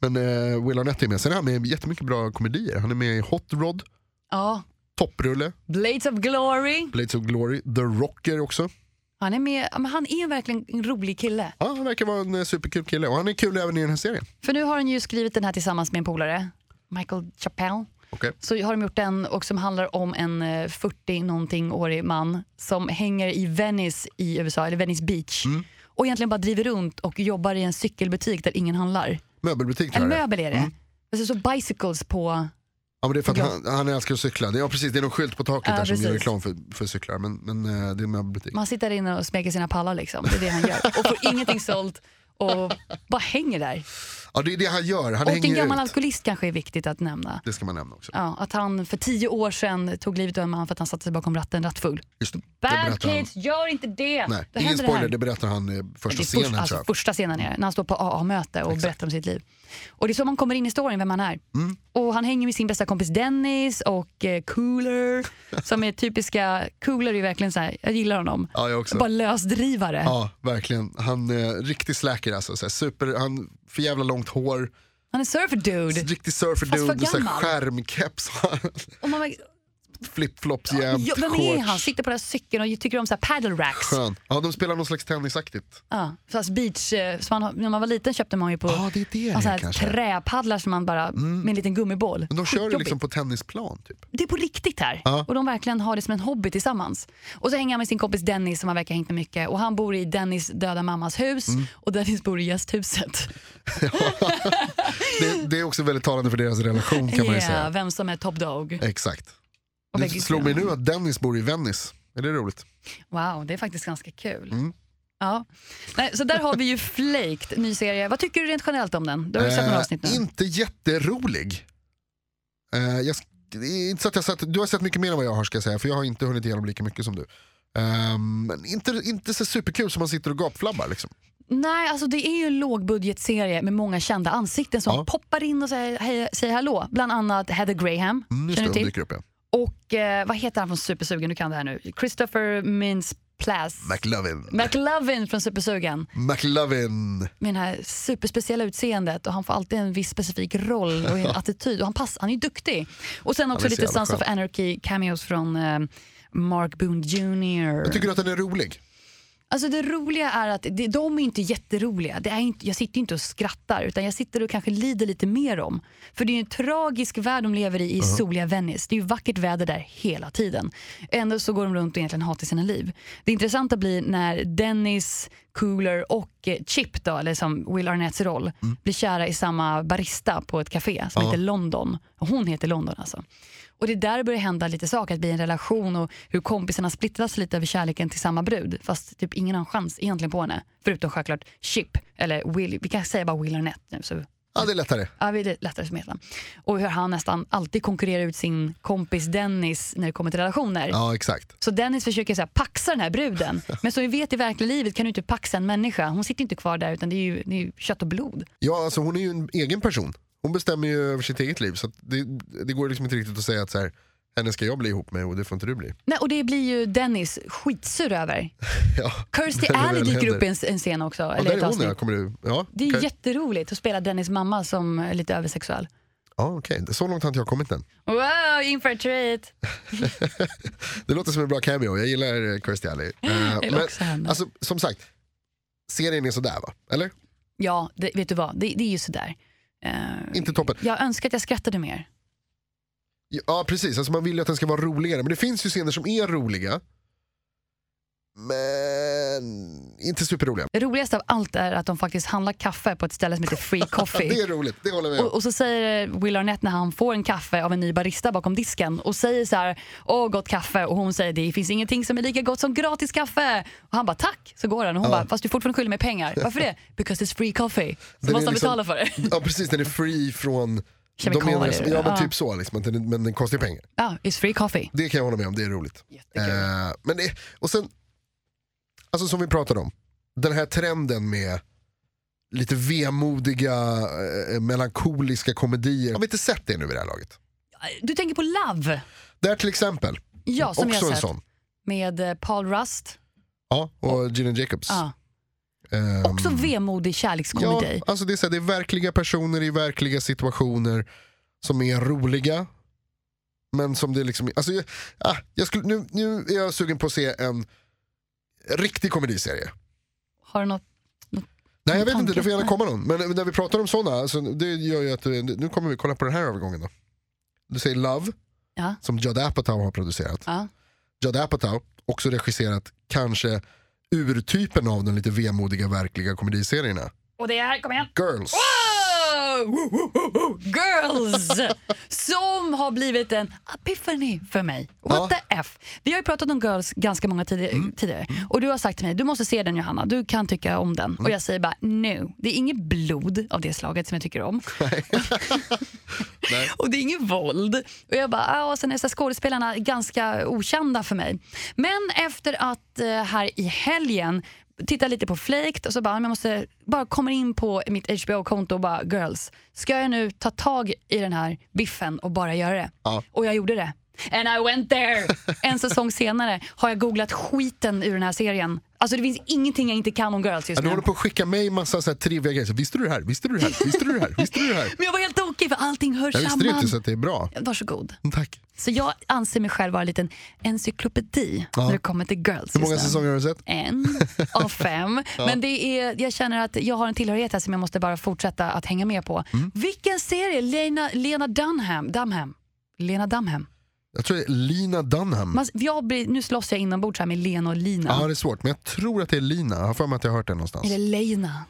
S2: Men eh, Will Arnett är med. Sen är han med i jättemycket bra komedier. Han är med i Hot Rod,
S1: Ja,
S2: Topprulle,
S1: Blades of Glory.
S2: Blades of Glory, The Rocker också.
S1: Han är med, ja, men han är verkligen en rolig kille.
S2: Ja, han verkar vara en eh, superkul kille och han är kul även i den här serien.
S1: För nu har han ju skrivit den här tillsammans med en polare, Michael Chappelle.
S2: Okej.
S1: Så har de gjort den och som handlar om en 40-någonting årig man som hänger i Venice i USA, eller Venice Beach.
S2: Mm.
S1: Och egentligen bara driver runt och jobbar i en cykelbutik där ingen handlar.
S2: Möbelbutik tror
S1: En
S2: jag det Mm. är.
S1: möbel är det. Alltså så bicycles på...
S2: Ja, men det är för att
S1: Ja.
S2: han, han älskar att cykla. Det- Ja precis, det är någon skylt på taket
S1: Ja,
S2: där som gör
S1: precis.
S2: reklam för, för cyklar. Men, men eh, det är en möbelbutik.
S1: Man sitter där inne och smeker sina pallar liksom. Det är det han gör. Och får ingenting sålt och bara hänger där.
S2: Ja det är det han gör, han
S1: Och en
S2: hänger
S1: gammal
S2: ut.
S1: alkoholist kanske är viktigt att nämna.
S2: Det ska man nämna också.
S1: Ja, att han för tio år sedan tog livet av en man för att han satte sig bakom ratten rattfull.
S2: Just det. Det
S1: Bad
S2: berättar han.
S1: kids, gör inte det!
S2: Nej,
S1: det
S2: ingen
S1: händer
S2: spoiler, det,
S1: här.
S2: berättar han i första
S1: Det är
S2: scenen
S1: först,
S2: tror
S1: alltså,
S2: jag.
S1: första scenen är det, när han står på AA-möte och berättar om sitt liv. Och Det är så man kommer in i storyn, vem han är.
S2: Mm.
S1: Och Han hänger med sin bästa kompis Dennis och eh, Cooler, som är typiska... Cooler är ju verkligen så här, jag gillar honom.
S2: Ja, jag också.
S1: Bara lösdrivare.
S2: Ja, verkligen. Han eh, riktig slacker alltså. Såhär, super, han för jävla långt hår,
S1: Han är surfer dude.
S2: riktig surfer
S1: Fast för
S2: dude, såhär,
S1: gammal.
S2: skärmkeps, (laughs)
S1: Och man, bara,
S2: flipflops jämt,
S1: ja, vem är
S2: shorts.
S1: han? Sitter på den här cykeln och tycker om så här paddle racks.
S2: Skön. Ja, de spelar någon slags tennisaktigt.
S1: Ja, fast beach, eh, som man, har- när man var liten köpte man ju på
S2: Ja, det är det
S1: alltså
S2: det är
S1: här
S2: kanske. Mm.
S1: träpaddlar som man bara, med en liten gummiboll.
S2: Men de kör ju
S1: Skitjobbigt.
S2: liksom på tennisplan typ.
S1: Det är på riktigt här.
S2: Ja.
S1: Och de verkligen har det som en hobby tillsammans. Och så hänger han med sin kompis Dennis som han verkar ha hängt med mycket. Och han bor i Dennis döda mammas hus
S2: Mm.
S1: och Dennis bor i gästhuset.
S2: Det, det är också väldigt talande för deras relation kan man ju
S1: Yeah,
S2: säga.
S1: vem som är top dog.
S2: Exakt.
S1: Och
S2: Det
S1: bägge
S2: slog mig
S1: sidorna.
S2: nu att Dennis bor i Venice. Är det roligt?
S1: Wow, det är faktiskt ganska kul.
S2: Mm.
S1: Ja. Nej, så där har vi ju Flaked, ny serie. Vad tycker du rent generellt om den? Du har ju sett några
S2: Eh,
S1: avsnitt nu.
S2: inte jätterolig. Eh, jag, sk- det är inte så att jag sett, du har sett mycket mer än vad jag har ska jag säga, för jag har inte hunnit igenom lika mycket som du. Eh, men inte, inte så superkul som man sitter och gapflabbar. Liksom.
S1: Nej, alltså det är ju en lågbudgetserie med många kända ansikten som
S2: Ja.
S1: poppar in och säger, hej, säger hallå. Bland annat Heather Graham,
S2: Mm,
S1: känner
S2: just det,
S1: du
S2: hon
S1: till?
S2: dyker upp ja.
S1: Och eh, vad heter han från Supersugen? Du kan det här nu. Christopher Mintz Plas.
S2: McLovin.
S1: McLovin från Supersugen
S2: McLovin.
S1: med det här superspeciella utseendet och han får alltid en viss specifik roll
S2: (laughs)
S1: och en attityd och han, pass, han är ju duktig. Och sen också
S2: är så
S1: lite
S2: jävla
S1: Sons of
S2: skön.
S1: Anarchy cameos från eh, Mark Boone Jr.
S2: Tycker du att den är rolig?
S1: Alltså det roliga är att det, de är inte jätteroliga. Det är inte, jag sitter ju inte och skrattar utan jag sitter och kanske lider lite mer om. För det är ju en tragisk värld de lever i i soliga Venice. Det är ju vackert väder där hela tiden. Ändå så går de runt och egentligen hatar sina liv. Det intressanta blir när Dennis, Cooler och eh, Chip, då, eller som Will Arnetts roll, blir kära i samma barista på ett café som heter London. Och Hon heter London alltså. Och det är där det börjar hända lite saker, att bli en relation och hur kompisarna splittras lite över kärleken till samma brud. Fast typ ingen har en chans egentligen på henne. Förutom självklart Chip, eller Will, vi kan säga bara Will Arnett nu. Så,
S2: Ja, det är lättare.
S1: ja, vi är lite lättare som heter han. Och hur han nästan alltid konkurrerar ut sin kompis Dennis när det kommer till relationer.
S2: Ja, exakt.
S1: Så Dennis försöker så här, paxa den här
S2: (laughs)
S1: bruden. Men som vi vet i verkliga livet kan du inte paxa en människa. Hon sitter inte kvar där utan det är ju, det är ju kött och blod.
S2: Ja, alltså hon är ju en egen person. Hon bestämmer ju över sitt eget liv. Så att det, det går liksom inte riktigt att säga att så här, henne ska jag bli ihop med och det får inte du bli. (laughs)
S1: Nej, och det blir ju Dennis skitsur över.
S2: Ja,
S1: Kirsty
S2: När (laughs) det
S1: Alley
S2: väl
S1: dyker
S2: händer.
S1: upp i en, en scen också.
S2: ja
S1: eller
S2: där
S1: ett
S2: är hon
S1: avsnitt.
S2: ja. Kommer du, ja,
S1: Det är ju
S2: okej.
S1: jätteroligt att spela Dennis mamma som är lite översexuell.
S2: ja okej. Så långt har inte jag kommit än.
S1: Wow, in for a treat!
S2: Det låter som en bra cameo, jag gillar eh,
S1: (laughs)
S2: Kirstie Alley. Eh,
S1: vill också henne.
S2: alltså, som sagt, serien är sådär va? Eller?
S1: Ja, det, vet du vad? Det, det är ju sådär. Uh,
S2: Inte toppen.
S1: jag önskar att jag skrattade mer.
S2: Ja precis, alltså, man vill ju att den ska vara roligare. Men det finns ju scener som är roliga. Men inte superroliga.
S1: Det roligaste av allt är att de faktiskt handlar kaffe på ett ställe som heter
S2: (laughs)
S1: Free Coffee.
S2: Det är roligt, det håller jag med om.
S1: Och, och så säger Will Arnett när han får en kaffe av en ny barista bakom disken och säger så här, åh gott kaffe och hon säger det finns ingenting som är lika gott som gratis kaffe. Och han bara tack, så går han och hon bara fast du är fortfarande skyldig mig pengar. Varför det? Because it's free coffee. Så
S2: Den
S1: måste
S2: är
S1: han
S2: liksom-
S1: betala för det.
S2: (laughs) Ja precis, den är free från
S1: Kemikalier,
S2: de menar som- ja men
S1: ja.
S2: typ så, liksom, att den, men den kostar ju pengar.
S1: Ja, it's free coffee.
S2: Det kan jag hålla med om, det är roligt.
S1: Jättekul.
S2: Eh, men det, och sen, alltså som vi pratade om, den här trenden med lite vemodiga, eh, melankoliska komedier. Har vi inte sett det nu vid det här laget?
S1: Du tänker på Love,
S2: Där till exempel,
S1: ja, som
S2: också
S1: jag har
S2: en
S1: sett,
S2: sån.
S1: med eh, Paul Rust.
S2: Ja, och Gillian Jacobs.
S1: Ja.
S2: Ehm,
S1: Ah. Också vemodig kärlekskomedi.
S2: Ja, alltså det, är så här, det är verkliga personer i verkliga situationer som är roliga. Men som det liksom, alltså, jag, ah, jag skulle, nu, nu är jag sugen på att se en riktig komediserie.
S1: Har du något?
S2: Nej jag vet
S1: Tanke.
S2: inte, det får gärna
S1: Nej.
S2: komma någon. Men när vi pratar om sådana, alltså, det gör ju att, eh, nu kommer vi kolla på den här övergången då. Du säger Love,
S1: Ja.
S2: som Judd Apatow har producerat.
S1: Ja.
S2: Judd Apatow, också regisserat kanske urtypen av de lite vemodiga verkliga komediserierna.
S1: Och det är, kom igen.
S2: Girls.
S1: Wow! Oh! Woo, woo, woo, woo.
S2: (laughs)
S1: Girls! Som har blivit en epiphany för mig. What
S2: Ja. Mm.
S1: the F? Vi har ju pratat om Girls ganska många tidigare, tidigare. och du har sagt till mig du måste se den Johanna, du kan tycka om den.
S2: Mm.
S1: Och jag säger bara no, det är inget blod av det slaget som jag tycker om.
S2: Nej.
S1: Och det är inget våld. Och jag bara, ah, och sen är så här skådespelarna ganska okända för mig. Men efter att eh, här i helgen titta lite på Flaked och så bara, men jag måste bara komma in på mitt HBO-konto och bara girls, ska jag nu ta tag i den här biffen och bara göra det?
S2: Ja.
S1: Och jag gjorde det. And I went
S2: (laughs)
S1: there! En säsong senare har jag googlat skiten ur den här serien. Alltså det finns ingenting jag inte kan om girls just
S2: Ja, du
S1: nu.
S2: håller på att skicka mig massa så här trivia grejer. Så, visste du det här? Visste du det här? Visste du det här? Visste du det här?
S1: Men jag var helt tokig för allting hör
S2: Jag visste det
S1: samman.
S2: inte så att det är bra. Mm,
S1: Varsågod.
S2: Tack.
S1: Så jag anser mig själv vara en liten encyklopedi
S2: Ja.
S1: när det kommer till girls.
S2: Hur många
S1: just nu.
S2: säsonger har du sett?
S1: En av
S2: (laughs)
S1: fem. Men det är, jag känner att jag har en tillhörighet här som jag måste bara fortsätta att hänga med på.
S2: Mm.
S1: Vilken serie? Lena, Lena Dunham. Dunham. Lena Dunham.
S2: Jag tror det är Lina Dunham.
S1: Man, jag blir, nu slåss jag inombords här med Lena och Lina.
S2: Ja, det är svårt. Men jag tror att det är Lina. Jag har för mig att jag har hört det någonstans.
S1: Eller Lena.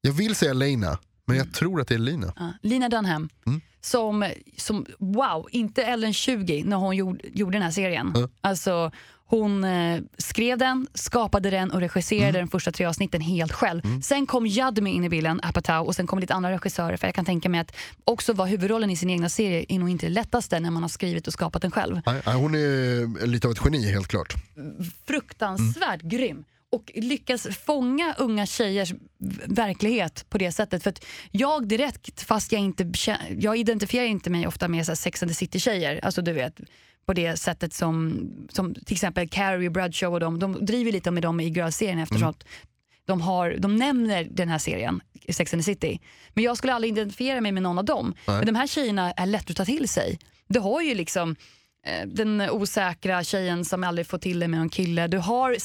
S2: Jag vill säga Lena, men jag tror att det är Lina.
S1: Ja, Lina Dunham. Som, som, wow, inte Ellen 20 när hon gjorde, gjorde den här serien. Alltså, hon eh, skrev den, skapade den och regisserade den första tre avsnitten helt själv. Sen kom Jadmi in i bilden, Apatow, och sen kom lite andra regissörer. För jag kan tänka mig att också vara huvudrollen i sin egna serie är nog inte det lättaste när man har skrivit och skapat den själv.
S2: Nej, nej, Hon är eh, lite av ett geni helt klart.
S1: Fruktansvärt grym och lyckas fånga unga tjejers v- verklighet på det sättet. För att jag direkt, fast jag inte kä- jag identifierar inte mig ofta med så här Sex and the City-tjejer, alltså du vet på det sättet som, som till exempel Carrie Bradshaw och de, de driver lite med dem i Girls-serien eftersom att de, har, de nämner den här serien, Sex and the City. Men jag skulle aldrig identifiera mig med någon av dem. Men de här tjejerna är lätt att ta till sig. Du har ju liksom eh, den osäkra tjejen som aldrig får till det med någon kille. Du har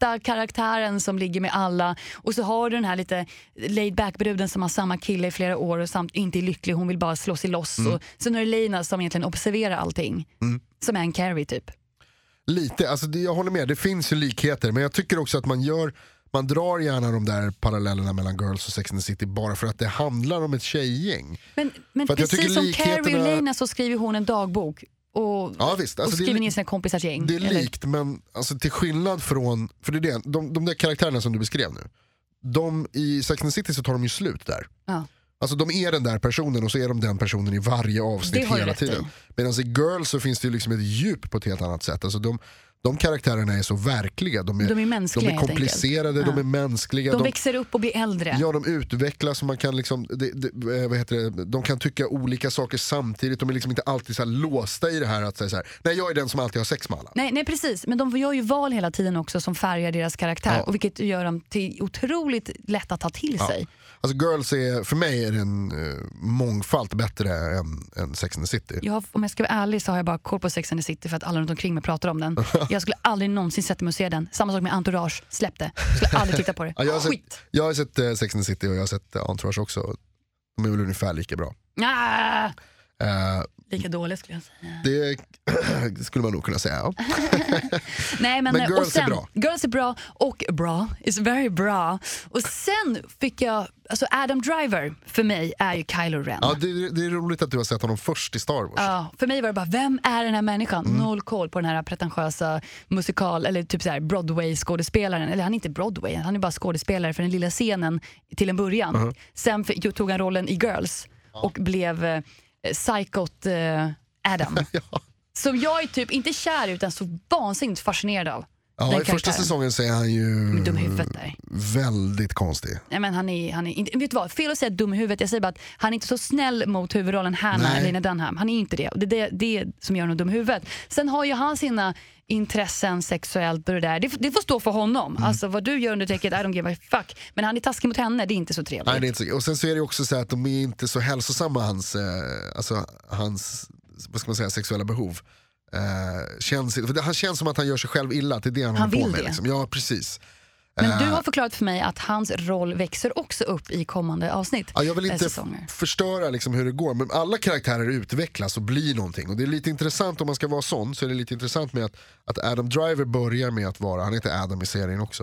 S1: Samantha-karaktären som ligger med alla. Och så har du den här lite laid back-bruden som har samma kille i flera år och samt inte är lycklig, hon vill bara slå sig loss.
S2: Mm.
S1: Och, sen har du Lina som egentligen observerar allting. Som är en Carrie typ.
S2: Lite, alltså det, jag håller med. Det finns ju likheter. Men jag tycker också att man gör man drar gärna de där parallellerna mellan Girls och Sex and the City bara för att det handlar om ett tjejgäng.
S1: Men, men
S2: För att jag
S1: precis
S2: tycker
S1: som
S2: likheterna-
S1: Carrie och Lena så skriver hon en dagbok och,
S2: Ja, visst. Alltså,
S1: och
S2: det är
S1: skriver
S2: li-
S1: ner sina kompisars gäng.
S2: Det är
S1: eller?
S2: likt men alltså, till skillnad från, för det är det, de, de där karaktärerna som du beskrev nu. De i Sex and the City så tar de ju slut där.
S1: Ja.
S2: Alltså de är den där personen och så är de den personen i varje
S1: Det
S2: avsnitt
S1: har du
S2: hela
S1: rätt i.
S2: tiden. Medan i Girls så finns det ju liksom ett djup på ett helt annat sätt. Alltså de, de karaktärerna är så verkliga, de är,
S1: De är mänskliga
S2: de är
S1: helt enkelt.
S2: komplicerade, de är mänskliga.
S1: De växer upp och blir äldre.
S2: Ja, de utvecklas och man kan liksom, det, det, eh, vad heter det, de kan tycka olika saker samtidigt. De är liksom inte alltid så här låsta i det här att säga så här, nej jag är den som alltid har sex med alla.
S1: Nej, nej precis, men de gör ju val hela tiden också som färgar deras karaktär
S2: Ja.
S1: och vilket gör dem till otroligt lätt att ta till sig.
S2: Alltså Girls är, för mig är den eh, mångfalt bättre än, än Sex and the City.
S1: Jag har, om jag ska vara ärlig så har jag bara koll på Sex and the City för att alla runt omkring mig pratar om
S2: (laughs)
S1: den. Jag skulle aldrig någonsin sätta mig och se den. Samma sak med Entourage, släpp det. Jag skulle aldrig titta på det.
S2: (laughs) Ja, jag, har
S1: Skit!
S2: sett, jag har sett eh, Sex and the City och jag har sett eh, Entourage också. De är väl ungefär lika bra.
S1: Ah!
S2: Eh,
S1: Lika dålig skulle jag säga.
S2: det (clears throat) skulle man nog kunna säga.
S1: (laughs)
S2: Ja.
S1: Nej, men,
S2: Men
S1: eh,
S2: Girls
S1: och sen,
S2: är bra.
S1: Girls är bra och bra. It's very bra. Och sen fick jag, alltså Adam Driver för mig är ju Kylo Ren.
S2: Ja, det, det är roligt att du har sett honom först i Star Wars.
S1: Ja, för mig var det bara, vem är den här människan?
S2: Mm.
S1: Noll koll på den här pretentiösa musikal eller typ så här Broadway-skådespelaren. Eller han är inte Broadway, han är bara skådespelare för den lilla scenen till en början.
S2: Uh-huh.
S1: Sen fick- jo, tog han rollen i Girls och blev eh, psykot eh,
S2: (laughs)
S1: Adam. Som jag är typ, inte kär i, utan så vansinnigt fascinerad av.
S2: Ja, I första säsongen så är han ju
S1: Dum i huvudet där.
S2: väldigt konstig.
S1: Nej, men han är, han är inte, vet du vad, fel att säga dum i huvudet. Jag säger bara att han är inte så snäll mot huvudrollen Hannah,
S2: Nej.
S1: Lena Dunham. Han är inte det. Och Det är det, det som gör honom dum i huvudet. Sen har ju han sina intressen sexuellt och det där. Det, f- det får stå för honom.
S2: Mm.
S1: Alltså vad du gör under täcket, I don't give a fuck. Men han är taskig mot henne, det är inte så trevligt.
S2: Nej, det är inte så, och sen så är det också så här att de är inte så hälsosamma, hans, eh, alltså, hans vad ska man säga, sexuella behov. Eh, känns, för det, han känns som att han gör sig själv illa, att det är det han,
S1: Han
S2: håller på
S1: vill
S2: med.
S1: det.
S2: Liksom. Ja, precis.
S1: Men
S2: Ah.
S1: du har förklarat för mig att hans roll växer också upp i kommande avsnitt.
S2: Ja, jag vill
S1: eh,
S2: inte
S1: säsonger.
S2: f- förstöra liksom hur det går, men alla karaktärer utvecklas och blir någonting. Och det är lite intressant, om man ska vara sån, så är det lite intressant med att, att Adam Driver börjar med att vara, han heter Adam i serien också.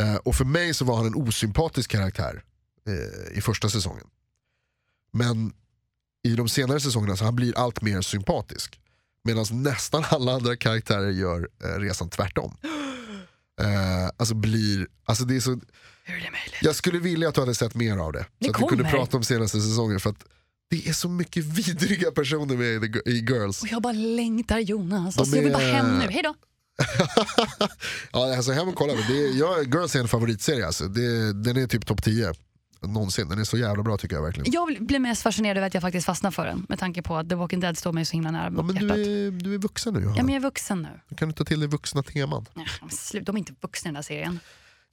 S2: Eh, och för mig så var han en osympatisk karaktär eh, i första säsongen. Men i de senare säsongerna så han blir allt mer sympatisk. Medan nästan alla andra karaktärer gör eh, resan tvärtom. Eh, alltså blir, alltså det är så
S1: Hur är det möjligt?
S2: jag skulle vilja att du hade sett mer av det.
S1: Det
S2: så att vi kunde
S1: kommer.
S2: prata om senaste säsongen. För att det är så mycket (laughs) vidriga personer med i, The- i Girls.
S1: Och jag bara längtar Jonas.
S2: De
S1: Alltså, Jag vill bara
S2: är-
S1: hem nu, hejdå.
S2: ja, alltså hem och kolla. men Det är, jag, Girls är en favoritserie. Alltså. Det, den är typ topp 10 någonsin. Den är så jävla bra tycker jag verkligen.
S1: Jag blir mest fascinerad över att jag faktiskt fastnar för den med tanke på att The Walking Dead står mig så himla nära
S2: Ja, men
S1: hjärtat.
S2: du, är, du är vuxen nu Johanna.
S1: Ja, men jag är vuxen nu.
S2: Kan du ta till dig vuxna teman?
S1: Nej, men Slut, de är inte vuxna i den där serien.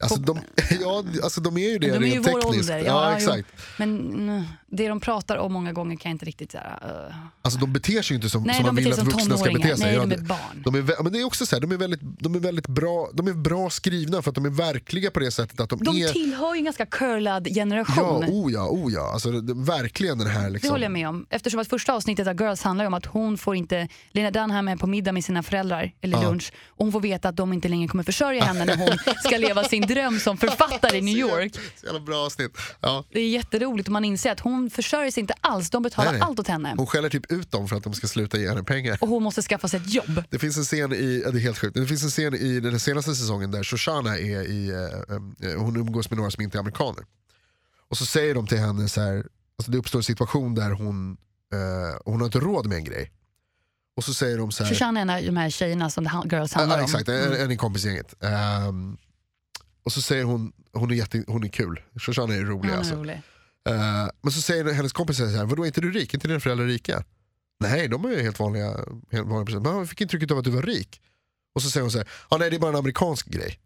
S2: Alltså, de, (laughs) ja, alltså, de är ju det
S1: de är ju
S2: rent
S1: vår
S2: tekniskt.
S1: ålder.
S2: Ja,
S1: jo.
S2: exakt.
S1: Men mm, det de pratar om många gånger kan jag inte riktigt... Så här, uh.
S2: Alltså, de beter sig ju inte som,
S1: Nej,
S2: som man
S1: de
S2: vill
S1: beter sig
S2: att
S1: som
S2: vuxna ska
S1: tonåringar.
S2: bete
S1: Nej,
S2: sig. Ja,
S1: de är
S2: det-
S1: barn.
S2: De är, vä- men det är också så här, de är väldigt, de är väldigt bra, de är bra skrivna för att de är verkliga på det sättet att de,
S1: De
S2: är...
S1: tillhör ju en ganska curlad generation.
S2: Ja, oh ja, oh ja. Alltså, det, det, verkligen den här
S1: Det
S2: liksom.
S1: håller jag med om. Eftersom att första avsnittet av Girls handlar ju om att hon får inte, Lena Dunham är på middag med sina föräldrar, eller lunch, och hon får veta att de inte längre kommer försörja henne när hon ska leva sin dröm som författare i New York.
S2: Så jävla- Så jävla bra avsnitt. Ja.
S1: Det är jätteroligt och man inser att hon försörjer sig inte alls, de betalar
S2: Nej, nej.
S1: allt åt henne.
S2: Hon skäller typ ut dem för att de ska sluta ge henne pengar.
S1: Och hon måste skaffa sig ett jobb.
S2: Det finns en scen i, ja, det är helt sjukt, det finns en scen i den senaste säsongen där Shoshana är i, eh, eh, hon umgås med några som inte är amerikaner. Och så säger de till henne så här, alltså det uppstår en situation där hon, eh, hon har inte råd med en grej. Och så säger de så här,
S1: Shoshana är en av de här tjejerna som The Hun- Girls
S2: Ja,
S1: handlar
S2: ja,
S1: om. Mm.
S2: exakt, en, en i kompisgänget. Ehm, och så säger hon, hon är, jätte, hon är kul, Shoshana är rolig
S1: Hon Mm. är
S2: alltså.
S1: rolig.
S2: Eh, men så säger hennes kompis så här, vadå är inte du rik? Är inte dina föräldrar rika? Nej, de är ju helt vanliga, helt vanliga personer. Men jag fick intrycket av att du var rik. Och så säger hon så här, ah, nej det är bara en amerikansk grej.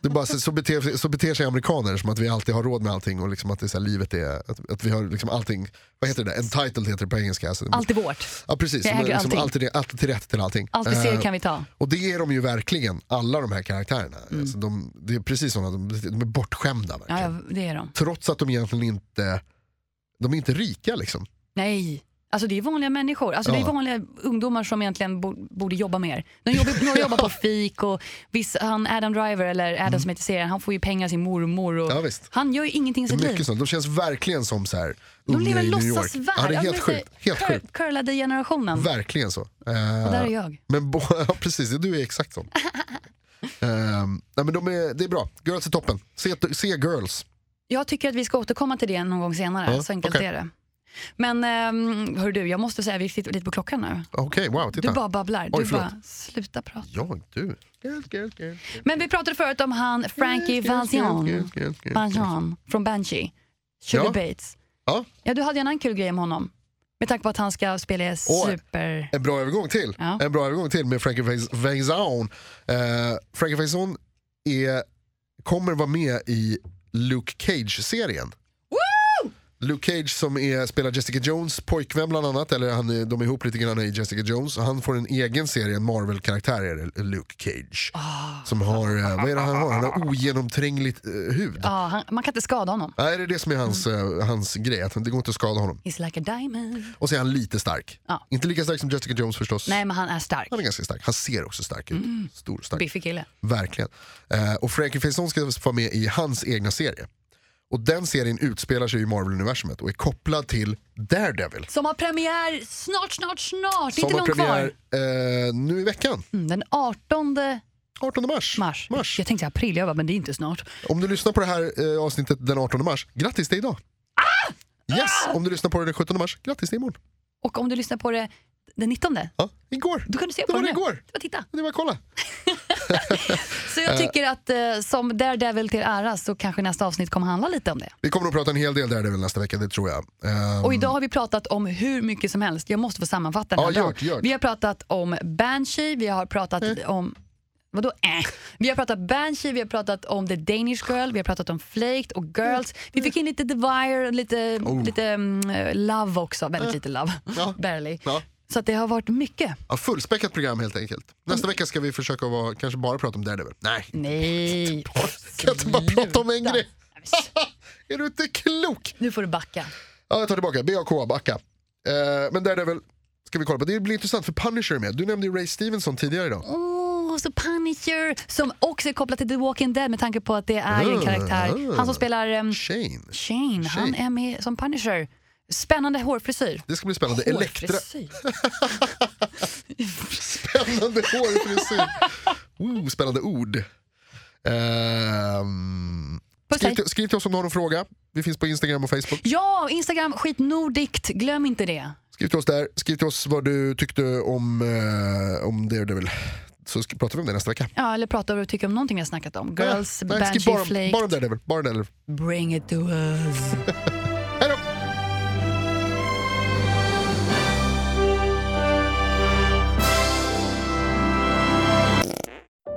S2: Det är bara, så, så, beter, så beter sig amerikaner som att vi alltid har råd med allting och liksom att det är så här, livet är, att, att vi har liksom allting, vad heter det där, entitled heter det på engelska. Alltså,
S1: Allt är vårt.
S2: ja precis,
S1: Jag
S2: Men
S1: äger
S2: liksom,
S1: allting.
S2: alltid, det- alltid till rätt till allting.
S1: Allt vi
S2: Eh,
S1: ser kan vi ta.
S2: och det är de ju verkligen, alla de här karaktärerna.
S1: Mm.
S2: Alltså de, det är precis sådana, de, de är bortskämda verkligen.
S1: Ja, ja, det är de.
S2: Trots att de egentligen inte, de är inte rika liksom.
S1: Nej. Alltså det är vanliga människor. Alltså Det
S2: Ja.
S1: är vanliga ungdomar som egentligen bo- borde jobba mer. De jobbar, några jobbar
S2: (laughs)
S1: på fik och viss, han Adam Driver, eller Adam som heter serien, han får ju pengar av sin mormor. Och
S2: Mm. Ja, visst.
S1: Han gör ju ingenting i
S2: Det är
S1: sitt liv.
S2: mycket sånt. De känns verkligen som så här,
S1: De
S2: unga
S1: lever
S2: i
S1: en
S2: New York.
S1: låtsasvärld.
S2: Ja, det är
S1: Ja,
S2: helt
S1: men säg,
S2: sjukt. Helt
S1: cur-
S2: sjukt.
S1: Curlade generationen.
S2: Verkligen så.
S1: Och där är
S2: Eh,
S1: jag.
S2: men bo- (laughs) ja, precis, du är
S1: (laughs)
S2: exakt sån. Eh, nej, men de är, det är bra, girls är toppen. Se, se girls.
S1: Jag tycker att vi ska återkomma till det någon gång senare.
S2: Ja,
S1: så enkelt
S2: okej.
S1: är det. Men um, hör du, jag måste säga, vi sitter lite på klockan nu.
S2: Okej, wow, titta.
S1: Du bara babblar. Du
S2: Oj, förlåt.
S1: bara, sluta prata.
S2: Ja, du. Girls, girls, girls.
S1: Men vi pratade förut om han Frankie
S2: Girls, girls,
S1: Valjean.
S2: girls, girls, girls.
S1: Valjean från Banshee. Sugar
S2: Ja.
S1: Bates.
S2: Ja,
S1: Ja, du hade ju en annan kul grej om honom. Med tanke på att han ska spela i super...
S2: En bra övergång till.
S1: Ja.
S2: En bra övergång till med Frankie Faison- Faison. Eh, Frankie Faison är, kommer vara med i Luke Cage-serien. Luke Cage som är, spelar Jessica Jones pojkvän bland annat, eller han, är- de är ihop lite grann i Jessica Jones. Han får en egen serie, en Marvel-karaktär är det, Luke Cage.
S1: Ah.
S2: Som har, eh, vad är det han har? Han har ogenomträngligt eh, hud.
S1: Ja, Mm. han, man kan inte skada honom.
S2: Nej, det är det som är hans, eh, hans grej, att det går inte att skada honom.
S1: He's like a diamond.
S2: Och så är han lite stark.
S1: Ja.
S2: Inte lika stark som Jessica Jones förstås.
S1: Nej, men han är stark.
S2: Han är ganska stark, han ser också stark ut.
S1: Mm.
S2: Stor och stark.
S1: Biffig kille.
S2: Verkligen. Eh, och Frankie Faison ska vara med i hans egna serie. Och den serien utspelar sig i Marvel-universumet och är kopplad till Daredevil.
S1: Som har premiär snart, snart, snart. Det är inte
S2: Som har
S1: långt
S2: premiär
S1: kvar.
S2: eh, nu i veckan,
S1: Mm, den 18
S2: 18 mars.
S1: mars. Jag tänkte april, jag bara, men det är inte snart.
S2: Om du lyssnar på det här eh, avsnittet den 18 mars, grattis det är idag.
S1: Ah!
S2: Yes, om du lyssnar på det den 17 mars, grattis det är imorgon.
S1: Och om du lyssnar på det den 19,
S2: Ja, igår,
S1: då kan du se
S2: det
S1: på
S2: var det
S1: den nu.
S2: igår.
S1: Det var titta.
S2: Det var kolla.
S1: Så jag tycker att eh, som Daredevil till ära så kanske nästa avsnitt kommer handla lite om det.
S2: Vi kommer att prata en hel del Daredevil nästa vecka, det tror jag. Ehm,
S1: Och idag har vi pratat om hur mycket som helst. Jag måste få sammanfatta den här
S2: Ja, gör
S1: dagen.
S2: det, gör det.
S1: Vi har pratat om Banshee, vi har pratat
S2: Mm.
S1: om Vadå äh? Vi har pratat Banshee, vi har pratat om The Danish Girl, vi har pratat om Flaked och Girls. Vi fick in lite The Wire, lite,
S2: Mm. Oh. Eh.
S1: lite mm, Love också. Väldigt lite Love.
S2: (laughs) Ja.
S1: Barely.
S2: Ja.
S1: Så att det har varit mycket.
S2: Ja, fullspäckat program helt enkelt. Nästa vecka ska vi försöka vara, kanske bara prata om Daredevil. Nej,
S1: Nej.
S2: kan jag inte bara prata om en
S1: Sluta.
S2: grej? Är du inte klok?
S1: Nu får du backa.
S2: Ja, jag tar tillbaka. BAK, backa. Eh, men Daredevil ska vi kolla på. Det blir intressant för Punisher är med. Du nämnde ju Ray Stevenson tidigare idag.
S1: Åh, så Punisher! Som också är kopplad till The Walking Dead med tanke på att det är ju en
S2: Ah,
S1: karaktär.
S2: ah.
S1: Han som spelar um,
S2: Shane.
S1: Shane, han
S2: Shane.
S1: är med som Punisher. Spännande hårfrisyr.
S2: Det ska bli spännande. Elektra.
S1: Hårfrisyr?
S2: Spännande hårfrisyr. Ooh, spännande ord. Eh, Ehm,
S1: Puss,
S2: skriv,
S1: hej.
S2: till, skriv till oss om du har någon fråga. Vi finns på Instagram och Facebook.
S1: Ja, Instagram skitnordigt, glöm inte det.
S2: Skriv till oss där. Skriv till oss vad du tyckte om, eh, om Daredevil. Så ska, pratar vi om det nästa vecka.
S1: Ja, eller prata om vad du tycker om någonting vi har snackat
S2: Ah,
S1: om. Girls,
S2: Nej, skriv
S1: Banshee,
S2: bara, om-
S1: Flake,
S2: bara om Daredevil. Bara om Daredevil.
S1: bring it to us.
S2: Hej då!